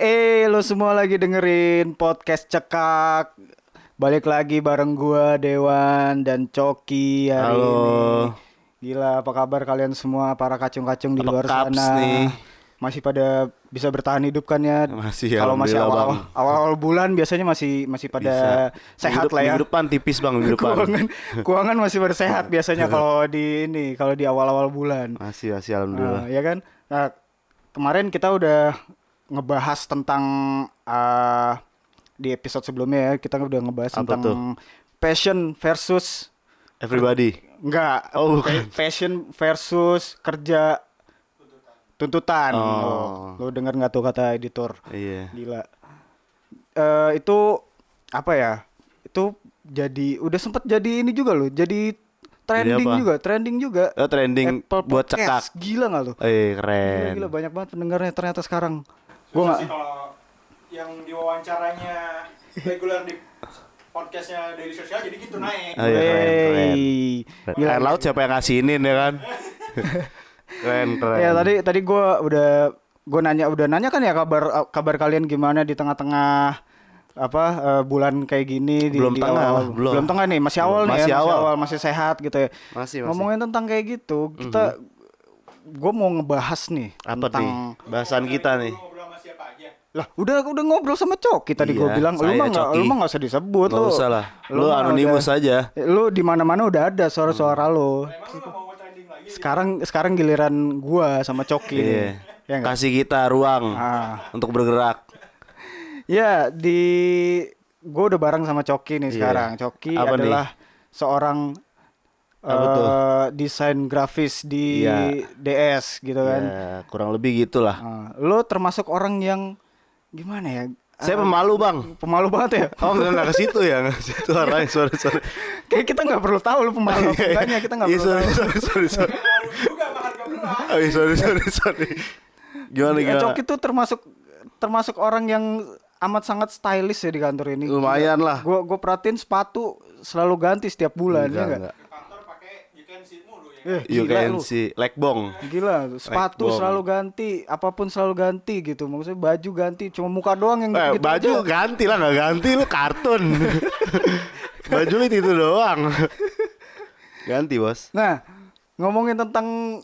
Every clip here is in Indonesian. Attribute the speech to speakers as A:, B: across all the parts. A: Eh, lo semua lagi dengerin podcast cekak. Balik lagi bareng gua Dewan dan Coki hari
B: Halo.
A: ini. Gila, apa kabar kalian semua para kacung-kacung di
B: Apa
A: luar
B: kaps
A: sana?
B: nih?
A: Masih pada bisa bertahan hidup kan ya?
B: Masih,
A: Kalau masih
B: alhamdulillah,
A: awal-awal,
B: Bang.
A: awal-awal bulan biasanya masih masih pada sehat
B: Minggu dep-
A: lah ya.
B: Minggu depan tipis bang, minggu depan.
A: Keuangan, keuangan masih bersehat biasanya kalau di ini, kalau di awal-awal bulan.
B: Masih, masih alhamdulillah.
A: Nah, ya kan? Nah, kemarin kita udah ngebahas tentang ah, di episode sebelumnya ya, kita udah ngebahas
B: Apa
A: tentang
B: tuh?
A: passion versus
B: Everybody.
A: enggak.
B: Oh,
A: Pe- passion versus kerja tuntutan.
B: Oh.
A: Lo, lo denger nggak tuh kata editor?
B: Iya.
A: Gila. Eh, itu apa ya? Itu jadi udah sempet jadi ini juga loh. Jadi trending
B: apa?
A: juga, trending juga.
B: Oh, trending
A: Apple
B: buat cekak.
A: Podcast. Gila nggak lo? Gila,
B: Eh keren.
A: gila banyak banget pendengarnya ternyata sekarang. Gua
C: Gue
A: nggak.
C: sih kalau yang diwawancara reguler di podcastnya Daily Social jadi gitu naik.
B: Oh, iya, keren, keren.
A: Wey.
B: Gila. Air laut siapa yang ngasihinin ya kan? keren, keren.
A: Ya tadi tadi gua udah gua nanya udah nanya kan ya kabar kabar kalian gimana di tengah-tengah apa eh, bulan kayak gini di,
B: Belum
A: di
B: tengah
A: awal.
B: lah, belum.
A: tengah nih masih awal nih
B: Masih
A: ya,
B: awal.
A: masih awal masih sehat gitu ya
B: Masih, masih.
A: ngomongin tentang kayak gitu kita gua mau ngebahas nih
B: Apa
A: tentang
B: nih? Bahasan kita nih.
C: Lu Ngobrol sama siapa aja.
A: lah udah udah ngobrol sama Coki tadi gua
B: Iya,
A: bilang lu
B: saya
A: mah nggak lu
B: Coki.
A: mah nggak usah disebut
B: Gak usah lah. Lu
A: mah
B: anonimus
A: udah-
B: aja.
A: lu di mana-mana udah ada suara-suara lo
C: Emang lu gak mau trending lagi?
A: sekarang sekarang giliran gua sama Coki nih.
B: Iya.
A: ya nggak?
B: Kasih kita ruang
A: Ah.
B: untuk bergerak.
A: Ya, di gua udah bareng sama Coki nih sekarang. Coki
B: Iya. Apa nih?
A: adalah seorang
B: Apa tuh?
A: eh, desain grafis di
B: Iya.
A: DS gitu kan.
B: Ya, kurang lebih gitulah.
A: Ah, lo termasuk orang yang gimana ya?
B: Saya
A: Ah,
B: pemalu bang.
A: pemalu banget ya.
B: Oh enggak enggak ke situ ya, enggak ke situ
A: Iya.
B: arahnya. Sorry, sorry.
A: Kayak kita nggak perlu tahu lo pemalu apa enggaknya, kita nggak
B: Iya,
A: perlu
B: sorry,
A: tahu.
B: sorry, sorry, sorry.
C: Baru juga sama harga murah.
B: Oh, iya, sorry, sorry, sorry. Gimana
A: Ya,
B: gimana?
A: Coki tuh termasuk termasuk orang yang amat sangat stylish ya di kantor ini.
B: Lumayan lah.
A: Gue gue perhatiin sepatu selalu ganti setiap bulan ya nggak?
C: Ke kantor pakai you can see mulu
A: Eh,
C: ya.
B: You
A: gila
B: can
A: lu.
B: see Lekbong.
A: Gila, sepatu
B: bom.
A: selalu ganti, apapun selalu ganti gitu. Maksudnya baju ganti, cuma muka doang yang
B: Eh,
A: gitu
B: baju
A: aja.
B: ganti lah, nggak ganti lu kartun. baju lu itu doang. ganti bos.
A: Nah, ngomongin tentang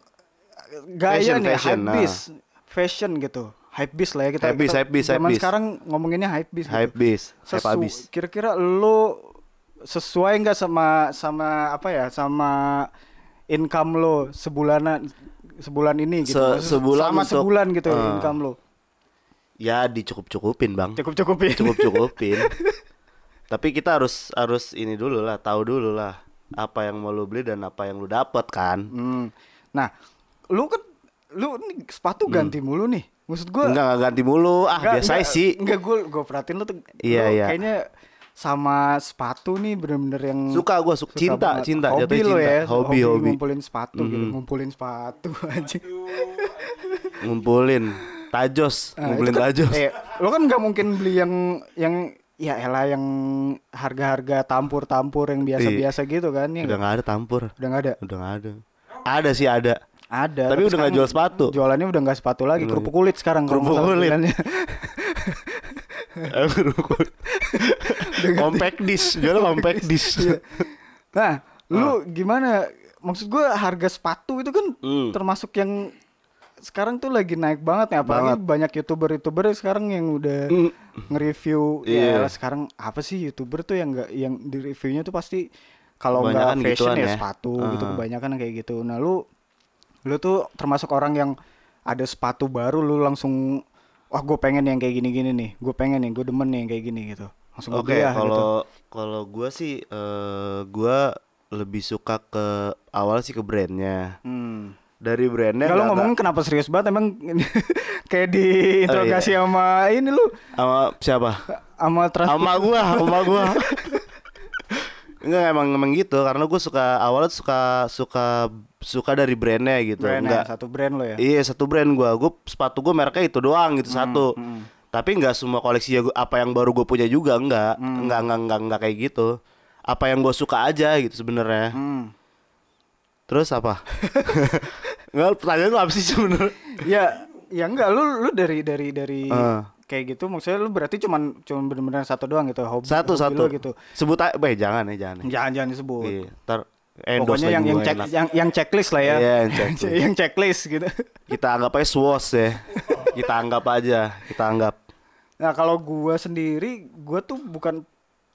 A: gaya
B: Fashion,
A: nih,
B: fashion, Nah.
A: hype beast, fashion gitu. Hype beast lah ya kita.
B: Hypebeast,
A: kita-
B: hypebeast,
A: Zaman
B: hypebeast.
A: sekarang ngomonginnya hype beast.
B: Hype
A: gitu.
B: bis, hype
A: Sesu-
B: abis.
A: Kira-kira lo sesuai nggak sama sama apa ya, sama income lo sebulanan sebulan ini gitu.
B: Se-
A: Maksudnya
B: sebulan
A: sama
B: untuk-
A: sebulan gitu
B: eh.
A: income lo.
B: Ya dicukup-cukupin bang.
A: Cukup-cukupin.
B: Cukup-cukupin. Tapi kita harus harus ini dulu lah, tahu dulu lah apa yang mau lu beli dan apa yang lu dapet kan.
A: Hmm. Nah, lu kan lu nih sepatu ganti mulu nih. Maksud gua
B: Hmm. Enggak enggak ganti mulu. Ah, biasa sih.
A: Enggak gua gua perhatiin lu tuh
B: Iya,
A: lu
B: iya.
A: kayaknya sama sepatu nih bener-bener yang
B: Suka gua, suka- cinta,
A: banget.
B: cinta,
A: hobi
B: jatuhnya
A: lo
B: cinta.
A: ya
B: Hobi, hobi. Hmm.
A: ngumpulin sepatu gitu ngumpulin sepatu aja
B: Ngumpulin tajos,
A: Nah,
B: ngumpulin
A: itu kan-
B: tajos.
A: eh, lo kan nggak mungkin beli yang yang ya elah yang harga-harga tampur-tampur yang biasa-biasa gitu kan ya
B: Iya.
A: nggak?
B: Udah nggak ada tampur.
A: udah nggak ada
B: Udah nggak ada. Ada sih ada.
A: ada
B: Tapi udah nggak
A: sekarang
B: jual sepatu. Iya.
A: jualannya udah nggak sepatu lagi kerupuk kulit sekarang kalau
B: Kerupuk
A: nggak salah
B: kulit.
A: jualannya.
B: compact disc, jual compact
A: Iya.
B: disc.
A: Nah, lu
B: Ah.
A: gimana? Maksud gua harga sepatu itu kan
B: Hmm.
A: termasuk yang sekarang tuh lagi naik banget ya apalagi banyak youtuber-youtuber sekarang yang udah nge-review ya
B: Hmm. Iya.
A: elah, sekarang apa sih youtuber tuh yang enggak yang di reviewnya tuh pasti kalau nggak
B: Kebanyakan
A: fashion
B: gituan
A: ya
B: ya.
A: sepatu gitu
B: Heeh.
A: kebanyakan kayak gitu. Nah, lu lu tuh termasuk orang yang ada sepatu baru lu langsung wah gue pengen yang kayak gini-gini nih. Gue pengen nih, gue demen nih yang kayak gini gitu. Langsung gua
B: Oke,
A: beli ah, gitu.
B: kalau kalau gua sih eh gua lebih suka ke awal sih ke brandnya.
A: Hmm.
B: Dari brandnya
A: Kalau
B: agak-
A: ngomongin kenapa serius banget emang kayak
B: Oh,
A: diinterogasi
B: iya.
A: sama ini lu
B: sama siapa?
A: sama trans
B: Sama gua, sama gua. Enggak emang emang gitu karena gue suka awalnya suka suka suka dari brandnya gitu.
A: brand ya,
B: Enggak
A: satu brand lo ya. Hmm,
B: Iya satu brand gua, gua sepatu gua mereknya itu doang gitu satu. Tapi nggak semua koleksi ya gua- apa yang baru gue punya juga nggak,
A: Hmm.
B: nggak nggak nggak nggak kayak gitu. Apa yang gue suka aja gitu sebenarnya.
A: Hmm.
B: Terus apa? Enggak pertanyaan lu apa sih sebenarnya?
A: Ya, ya enggak lu lu dari dari dari
B: Eh.
A: kayak gitu maksudnya lu berarti cuman cuman bener-bener satu doang gitu hobi
B: Satu
A: hobi
B: satu.
A: lu gitu
B: Sebut aja, Beh, jangan ya, jangan. Ya.
A: jangan jangan disebut
B: Iya, ntar endorse
A: pokoknya yang
B: lagi
A: yang
B: gua
A: cek ya.
B: enak.
A: yang yang checklist lah ya
B: Iya, yang checklist.
A: yang checklist gitu
B: Kita anggap aja swos ya. kita anggap aja, kita anggap.
A: nah kalau gua sendiri gua tuh bukan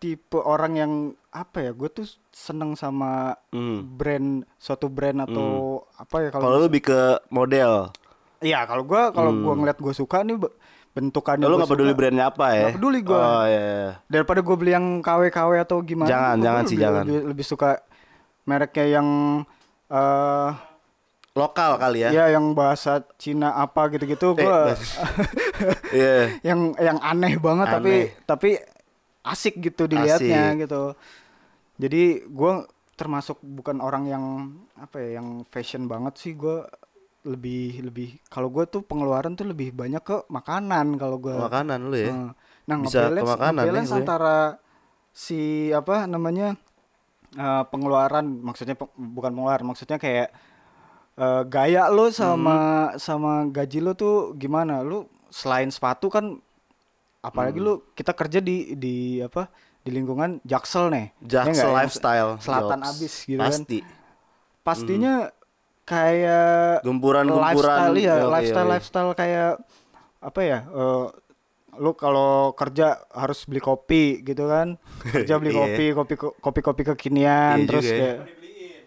A: tipe orang yang apa ya gua tuh seneng sama
B: Hmm.
A: brand suatu brand atau apa ya kalau
B: Kalau lu lebih ke model,
A: Iya, kalau gua kalau gua ngeliat gua suka nih be- bentukannya.
B: Hmm. lu
A: gua
B: nggak peduli
A: suka.
B: brandnya apa ya?
A: Nggak peduli gua.
B: Oh iya. iya.
A: Daripada gua beli yang KW-KW atau gimana.
B: Jangan,
A: gua
B: jangan
A: lebih-
B: sih, jangan.
A: Lebih, lebih suka mereknya yang eh
B: Lokal kali ya.
A: ya. yang bahasa Cina apa gitu-gitu
B: Eh,
A: gua
B: Iya.
A: yang yang aneh banget tapi
B: Aneh.
A: tapi asik gitu dilihatnya
B: Asik.
A: gitu. Jadi gua termasuk bukan orang yang apa ya yang fashion banget sih gua lebih lebih kalau gua tuh pengeluaran tuh lebih banyak ke makanan kalau gua
B: Makanan lu ya.
A: Heeh. Nah,
B: Bisa ke
A: nge-balance,
B: makanan nih
A: nge-balance
B: gue.
A: antara si apa namanya eh, pengeluaran, maksudnya pe- bukan pengeluaran, maksudnya kayak eh, gaya lo sama
B: Hmm.
A: sama gaji lo tuh gimana? Lu selain sepatu kan, apalagi
B: Hmm.
A: lu kita kerja di di apa di lingkungan Jaksel nih, ya
B: Jaksel
A: nggak? Yang
B: lifestyle.
A: selatan
B: jobs.
A: abis gitu kan.
B: Pasti.
A: Pastinya
B: Hmm.
A: kayak
B: Gempuran-gempuran.
A: lifestyle ya,
B: Iya, iya,
A: lifestyle
B: iya.
A: lifestyle kayak apa ya? eh, lu kalau kerja harus beli kopi gitu kan. Kerja beli
B: Iya.
A: kopi, kopi kopi kopi kekinian
B: Iya
A: terus
B: juga ya.
A: kayak
C: dibeliin
A: ya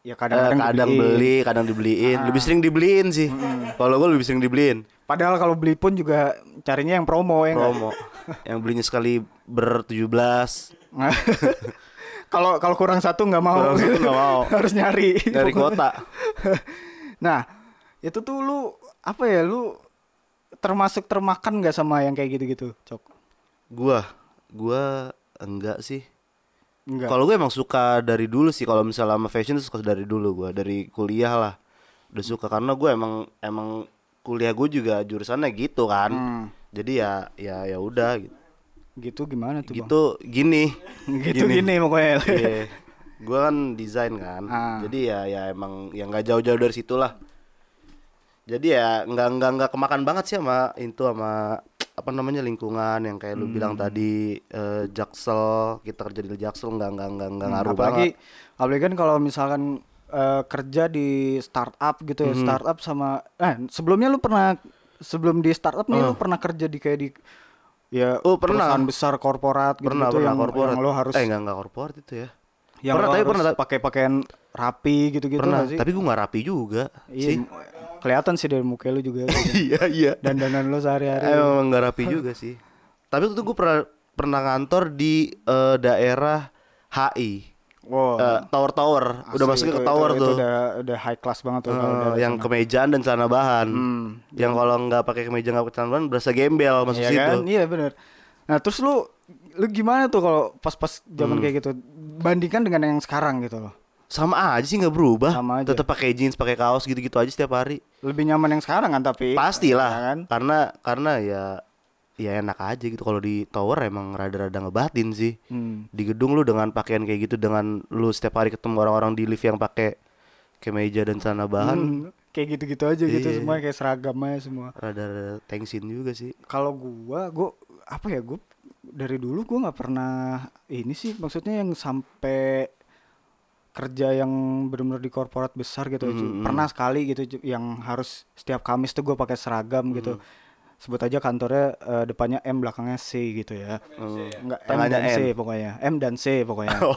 B: Eh, Kadang,
A: kadang-kadang dibeliin. Ah. Hmm.
B: beli, kadang dibeliin. Lebih sering dibeliin sih. Kalau gue lebih sering dibeliin.
A: Padahal kalau beli pun juga carinya yang promo ya nggak?
B: Promo. Yang belinya sekali ber 17
A: Kalau kalau kurang satu nggak mau.
B: Kurang satu nggak mau.
A: harus nyari. Iya,
B: dari
A: Pokoknya.
B: kota.
A: nah, itu tuh lu apa ya lu termasuk termakan nggak sama yang kayak gitu-gitu, Cok?
B: Gua, gua enggak sih.
A: Enggak.
B: Kalau gue emang suka dari dulu sih kalau misalnya sama fashion tuh suka dari dulu gua, dari kuliah lah. Udah suka karena gue emang emang kuliah gue juga jurusannya gitu kan.
A: Hmm.
B: Jadi ya ya ya udah gitu.
A: Gitu gimana tuh, Bang?
B: Gitu gini.
A: gitu gini, pokoknya
B: Iya. Gue kan desain kan.
A: Ah.
B: Jadi ya ya emang yang nggak jauh-jauh dari situ lah. Jadi ya nggak nggak nggak kemakan banget sih sama itu sama apa namanya lingkungan yang kayak lu
A: Hmm.
B: bilang tadi eh, jaksel kita kerja di jaksel nggak nggak nggak nggak ngaruh
A: Hmm, apalagi
B: banget.
A: apalagi kan kalau misalkan eh, kerja di startup gitu
B: Mhm.
A: ya startup sama eh sebelumnya lu pernah sebelum di startup nih lu pernah kerja di kayak di ya
B: Oh, pernah.
A: perusahaan besar korporat gitu,
B: Pernah pernah
A: yang,
B: korporat.
A: yang lu harus
B: eh nggak nggak korporat itu ya.
A: yang
B: pernah
A: lu
B: tapi
A: harus
B: pernah
A: pakai pakaian rapi gitu-gitu
B: pernah
A: nggak sih
B: tapi gue nggak rapi juga
A: iya
B: sih.
A: kelihatan sih dari muka lu juga
B: iya iya.
A: dandanan lu sehari-hari
B: Emang nggak rapi juga sih. Tapi waktu itu gue pernah pernah ngantor di eh, daerah HI.
A: wow
B: Eh, tower tower udah
A: asli
B: masuk
A: Oh. itu-
B: ke
A: itu-
B: tower
A: itu
B: tuh
A: udah udah high class banget tuh kalau
B: Eh,
A: udah- Hmm.
B: yang kemejaan dan celana bahan yang kalau nggak pakai kemeja nggak pakai celana bahan berasa gembel masuk
A: Iya
B: situ
A: kan? Iya benar. Nah, terus lu lu gimana tuh kalau pas-pas zaman
B: Hmm.
A: kayak gitu? Bandingkan dengan yang sekarang gitu loh.
B: sama aja sih nggak berubah
A: Sama aja.
B: tetap pakai jeans pakai kaos gitu gitu aja setiap hari
A: Lebih nyaman yang sekarang kan tapi.
B: pastilah
A: Iya kan?
B: karena karena ya ya enak aja gitu kalau di tower emang rada-rada ngebatin sih
A: Hmm.
B: di gedung lu dengan pakaian kayak gitu dengan lu setiap hari ketemu orang-orang di lift yang pakai kemeja dan celana bahan
A: Hmm, Kayak gitu-gitu aja gitu
B: Iya.
A: semua kayak seragam aja semua.
B: rada-rada tengsin juga sih
A: Kalau gua, gua apa ya gua dari dulu gua nggak pernah ini sih maksudnya yang sampai kerja yang benar-benar di korporat besar
B: Hmm,
A: gitu Ju. pernah sekali gitu Ju, yang harus setiap Kamis tuh gua pakai
B: Hmm.
A: seragam gitu sebut aja kantornya eh, depannya M belakangnya C gitu ya enggak M
B: Oh. Tengahnya
A: dan
B: N.
A: C pokoknya M dan C pokoknya
B: Oh,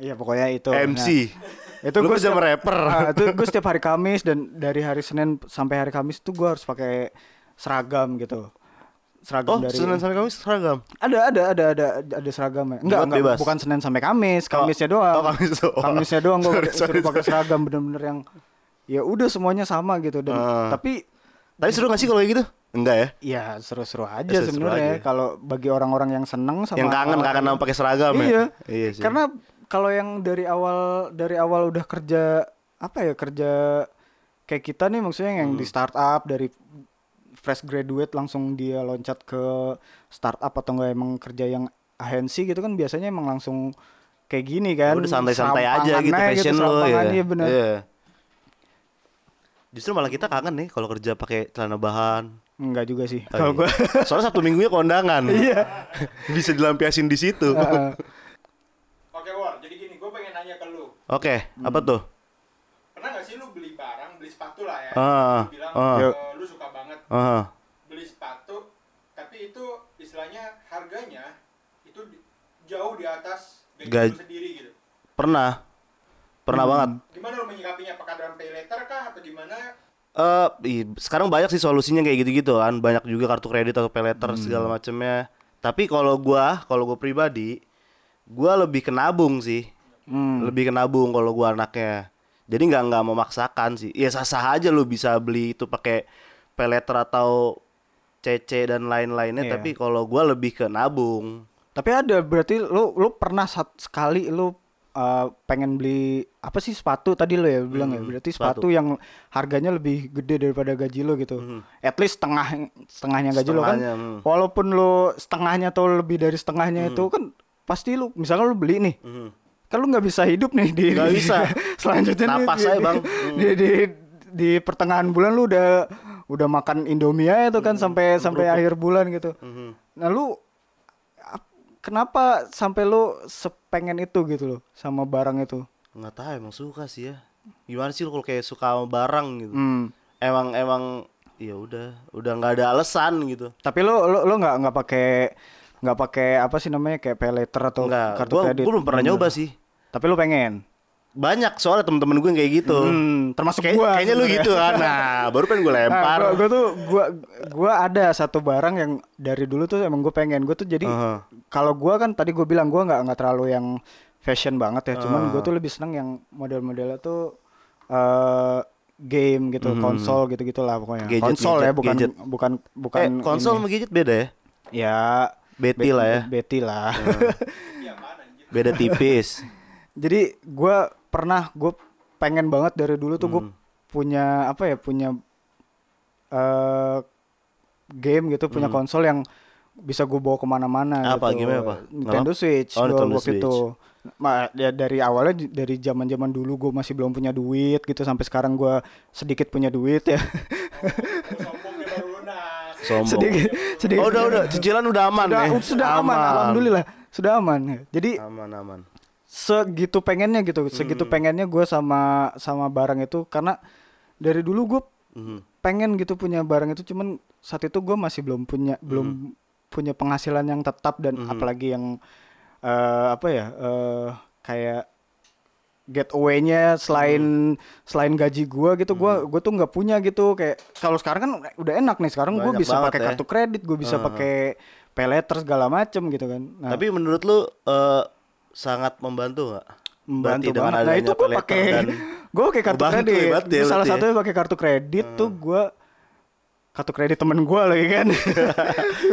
A: iya pokoknya itu Nah,
B: MC
A: itu
B: Oh, Lu
A: gue
B: bisa
A: setiap,
B: merapper.
A: Ah, itu gue setiap hari Kamis dan dari hari Senin sampai hari Kamis tuh gue harus pakai seragam gitu seragam
B: Oh,
A: dari
B: Senin sampai Kamis seragam.
A: ada ada ada ada ada seragamnya enggak,
B: Jumat
A: enggak
B: bebas.
A: bukan Senin sampai Kamis Kamisnya doang
B: oh, Kamis doang.
A: Kamisnya doang gue
B: Sorry, sorry,
A: suruh pakai seragam bener-bener yang ya udah semuanya sama gitu dan
B: Ah.
A: tapi
B: Tapi seru gak sih kalau kayak gitu? Enggak ya.
A: ya seru-seru
B: Ya,
A: aja
B: seru-seru
A: sebenarnya
B: aja.
A: kalau bagi orang-orang yang seneng sama
B: yang kangen kangen sama pakai seragam ya.
A: iya.
B: Iya sih.
A: Karena kalau yang dari awal dari awal udah kerja apa ya kerja kayak kita nih maksudnya yang di
B: Hmm.
A: startup dari fresh graduate langsung dia loncat ke startup atau enggak emang kerja yang agensi gitu kan biasanya emang langsung kayak gini kan.
B: udah Ya santai-santai aja
A: serampangan
B: gitu
A: aja
B: fashion lo
A: serampangan,
B: ya.
A: iya bener.
B: Iya. Justru malah kita kangen nih kalau kerja pakai celana bahan.
A: Enggak juga sih.
B: Oh,
A: Kalau gua
B: iya. soalnya Sabtu Minggunya kondangan. Iya. Bisa dilampiasin di situ.
A: Heeh.
C: Oke War, jadi gini, gue pengen nanya ke lu.
B: Oke, apa tuh?
C: Pernah gak sih lu beli barang, beli sepatu lah ya?
B: Ah,
C: Lu bilang
B: ah.
C: eh, lu suka banget
B: Heeh.
C: beli sepatu, tapi itu istilahnya harganya itu di- jauh di atas gaji
B: Gaj-
C: lu sendiri gitu.
B: pernah. Pernah banget.
C: Gimana lu menyikapinya? Apakah dalam pay later kah atau gimana?
B: Eh, ih, sekarang banyak sih solusinya kayak gitu-gitu kan. Banyak juga kartu kredit atau pay later segala
A: Hmm.
B: macamnya. Tapi kalau gua, kalau gua pribadi, gua lebih ke nabung sih.
A: Hmm.
B: Lebih ke nabung kalau gua anaknya. Jadi nggak nggak memaksakan sih. Ya sah-sah aja lu bisa beli itu pakai pay later atau CC dan lain-lainnya,
A: Iya.
B: tapi kalau gua lebih ke nabung.
A: Tapi ada berarti lu lu pernah sat, sekali lu eh, pengen beli apa sih sepatu tadi lo ya bilang ya berarti
B: Hmm,
A: sepatu.
B: sepatu. Hmm.
A: yang harganya lebih gede daripada gaji lo gitu at least setengah setengahnya gaji lo kan
B: Setengahnya, hmm.
A: walaupun lo setengahnya atau lebih dari setengahnya itu kan pasti lu misalkan lu beli nih
B: hmm,
A: kan lu nggak bisa hidup nih di
B: Nggak
A: di-
B: bisa.
A: selanjutnya nih
B: Napas
A: di-
B: aja,
A: di-
B: Bang.
A: di, di di pertengahan bulan lu udah udah makan indomie aja tuh kan
B: Hmm.
A: sampai sampai akhir bulan gitu nah lu ap- kenapa sampai lu sepengen itu gitu loh sama barang itu
B: nggak tahu emang suka sih ya gimana sih lu kalau kayak suka sama barang gitu
A: Hmm.
B: emang emang ya udah udah nggak ada alasan gitu
A: tapi lu lu lu nggak nggak pakai nggak pakai apa sih namanya kayak pay later atau
B: nggak
A: Oh, kartu
B: gua,
A: kredit
B: gua belum pernah nyoba sih
A: tapi lu pengen
B: banyak soalnya temen-temen gue yang kayak gitu
A: Hmm, termasuk
B: Kayak-
A: gua
B: kayaknya lu
A: sebenarnya.
B: gitu kan nah baru pengen gue lempar
A: ah. Nah, gua, gua tuh gua gua ada satu barang yang dari dulu tuh emang gue pengen. Gue tuh jadi
B: Aha.
A: kalau gua kan tadi gue bilang gua nggak nggak terlalu yang fashion banget ya. Cuman gue tuh lebih seneng yang model-modelnya tuh eh game gitu, konsol gitu-gitu lah pokoknya.
B: Mhm, Gadget,
A: konsol ya,
B: gadget,
A: bukan
B: gadget.
A: bukan bukan
B: eh konsol
A: ini.
B: sama gadget beda ya
A: ya
B: Betty lah ya.
A: Betty lah.
C: Ya mana anjir?
B: beda tipis
A: Jadi gua pernah gue pengen banget dari dulu tuh
B: Hmm.
A: gue punya apa ya punya eh game gitu punya konsol yang bisa gue bawa kemana-mana.
B: Hmm. Apa?
A: gitu.
B: Game-nya apa?
A: Nintendo
B: Ngalap?
A: Switch.
B: Oh,
A: gua
B: Nintendo
A: waktu
B: Switch.
A: itu. Ma- ya dari awalnya j- dari zaman-zaman dulu gue masih belum punya duit gitu sampai sekarang gua sedikit punya duit ya.
C: Lu sombongnya baru lunas.
B: sombong
A: sedikit sedikit.
B: oh udah udah cicilan udah aman
A: Sudah,
B: ya
A: sudah aman. alhamdulillah sudah aman. Jadi
B: aman aman
A: segitu pengennya gitu segitu
B: Hmm.
A: pengennya gue sama sama barang itu karena dari dulu gue
B: Mhm.
A: pengen gitu punya barang itu cuman saat itu gue masih belum punya
B: Hmm.
A: belum punya penghasilan yang tetap dan apalagi yang eh, apa ya eh, kayak getaway-nya selain
B: Hmm.
A: selain gaji gua gitu gua gua tuh nggak punya gitu kayak kalau sekarang kan udah enak nih sekarang gua
B: Banyak
A: bisa
B: banget
A: pakai
B: ya.
A: kartu kredit gua bisa pakai pay letter segala macem gitu kan Nah,
B: tapi menurut lu eh, sangat membantu nggak Berarti
A: membantu
B: dengan
A: banget. Nah
B: adanya
A: itu gue
B: pay later
A: pakai
B: dan-
A: gue pakai kartu
B: Membantu
A: kredit.
B: ya, berarti ya,
A: Gua salah
B: berarti ya. Hmm.
A: satunya pakai kartu kredit tuh gue kartu kredit temen gue lagi kan.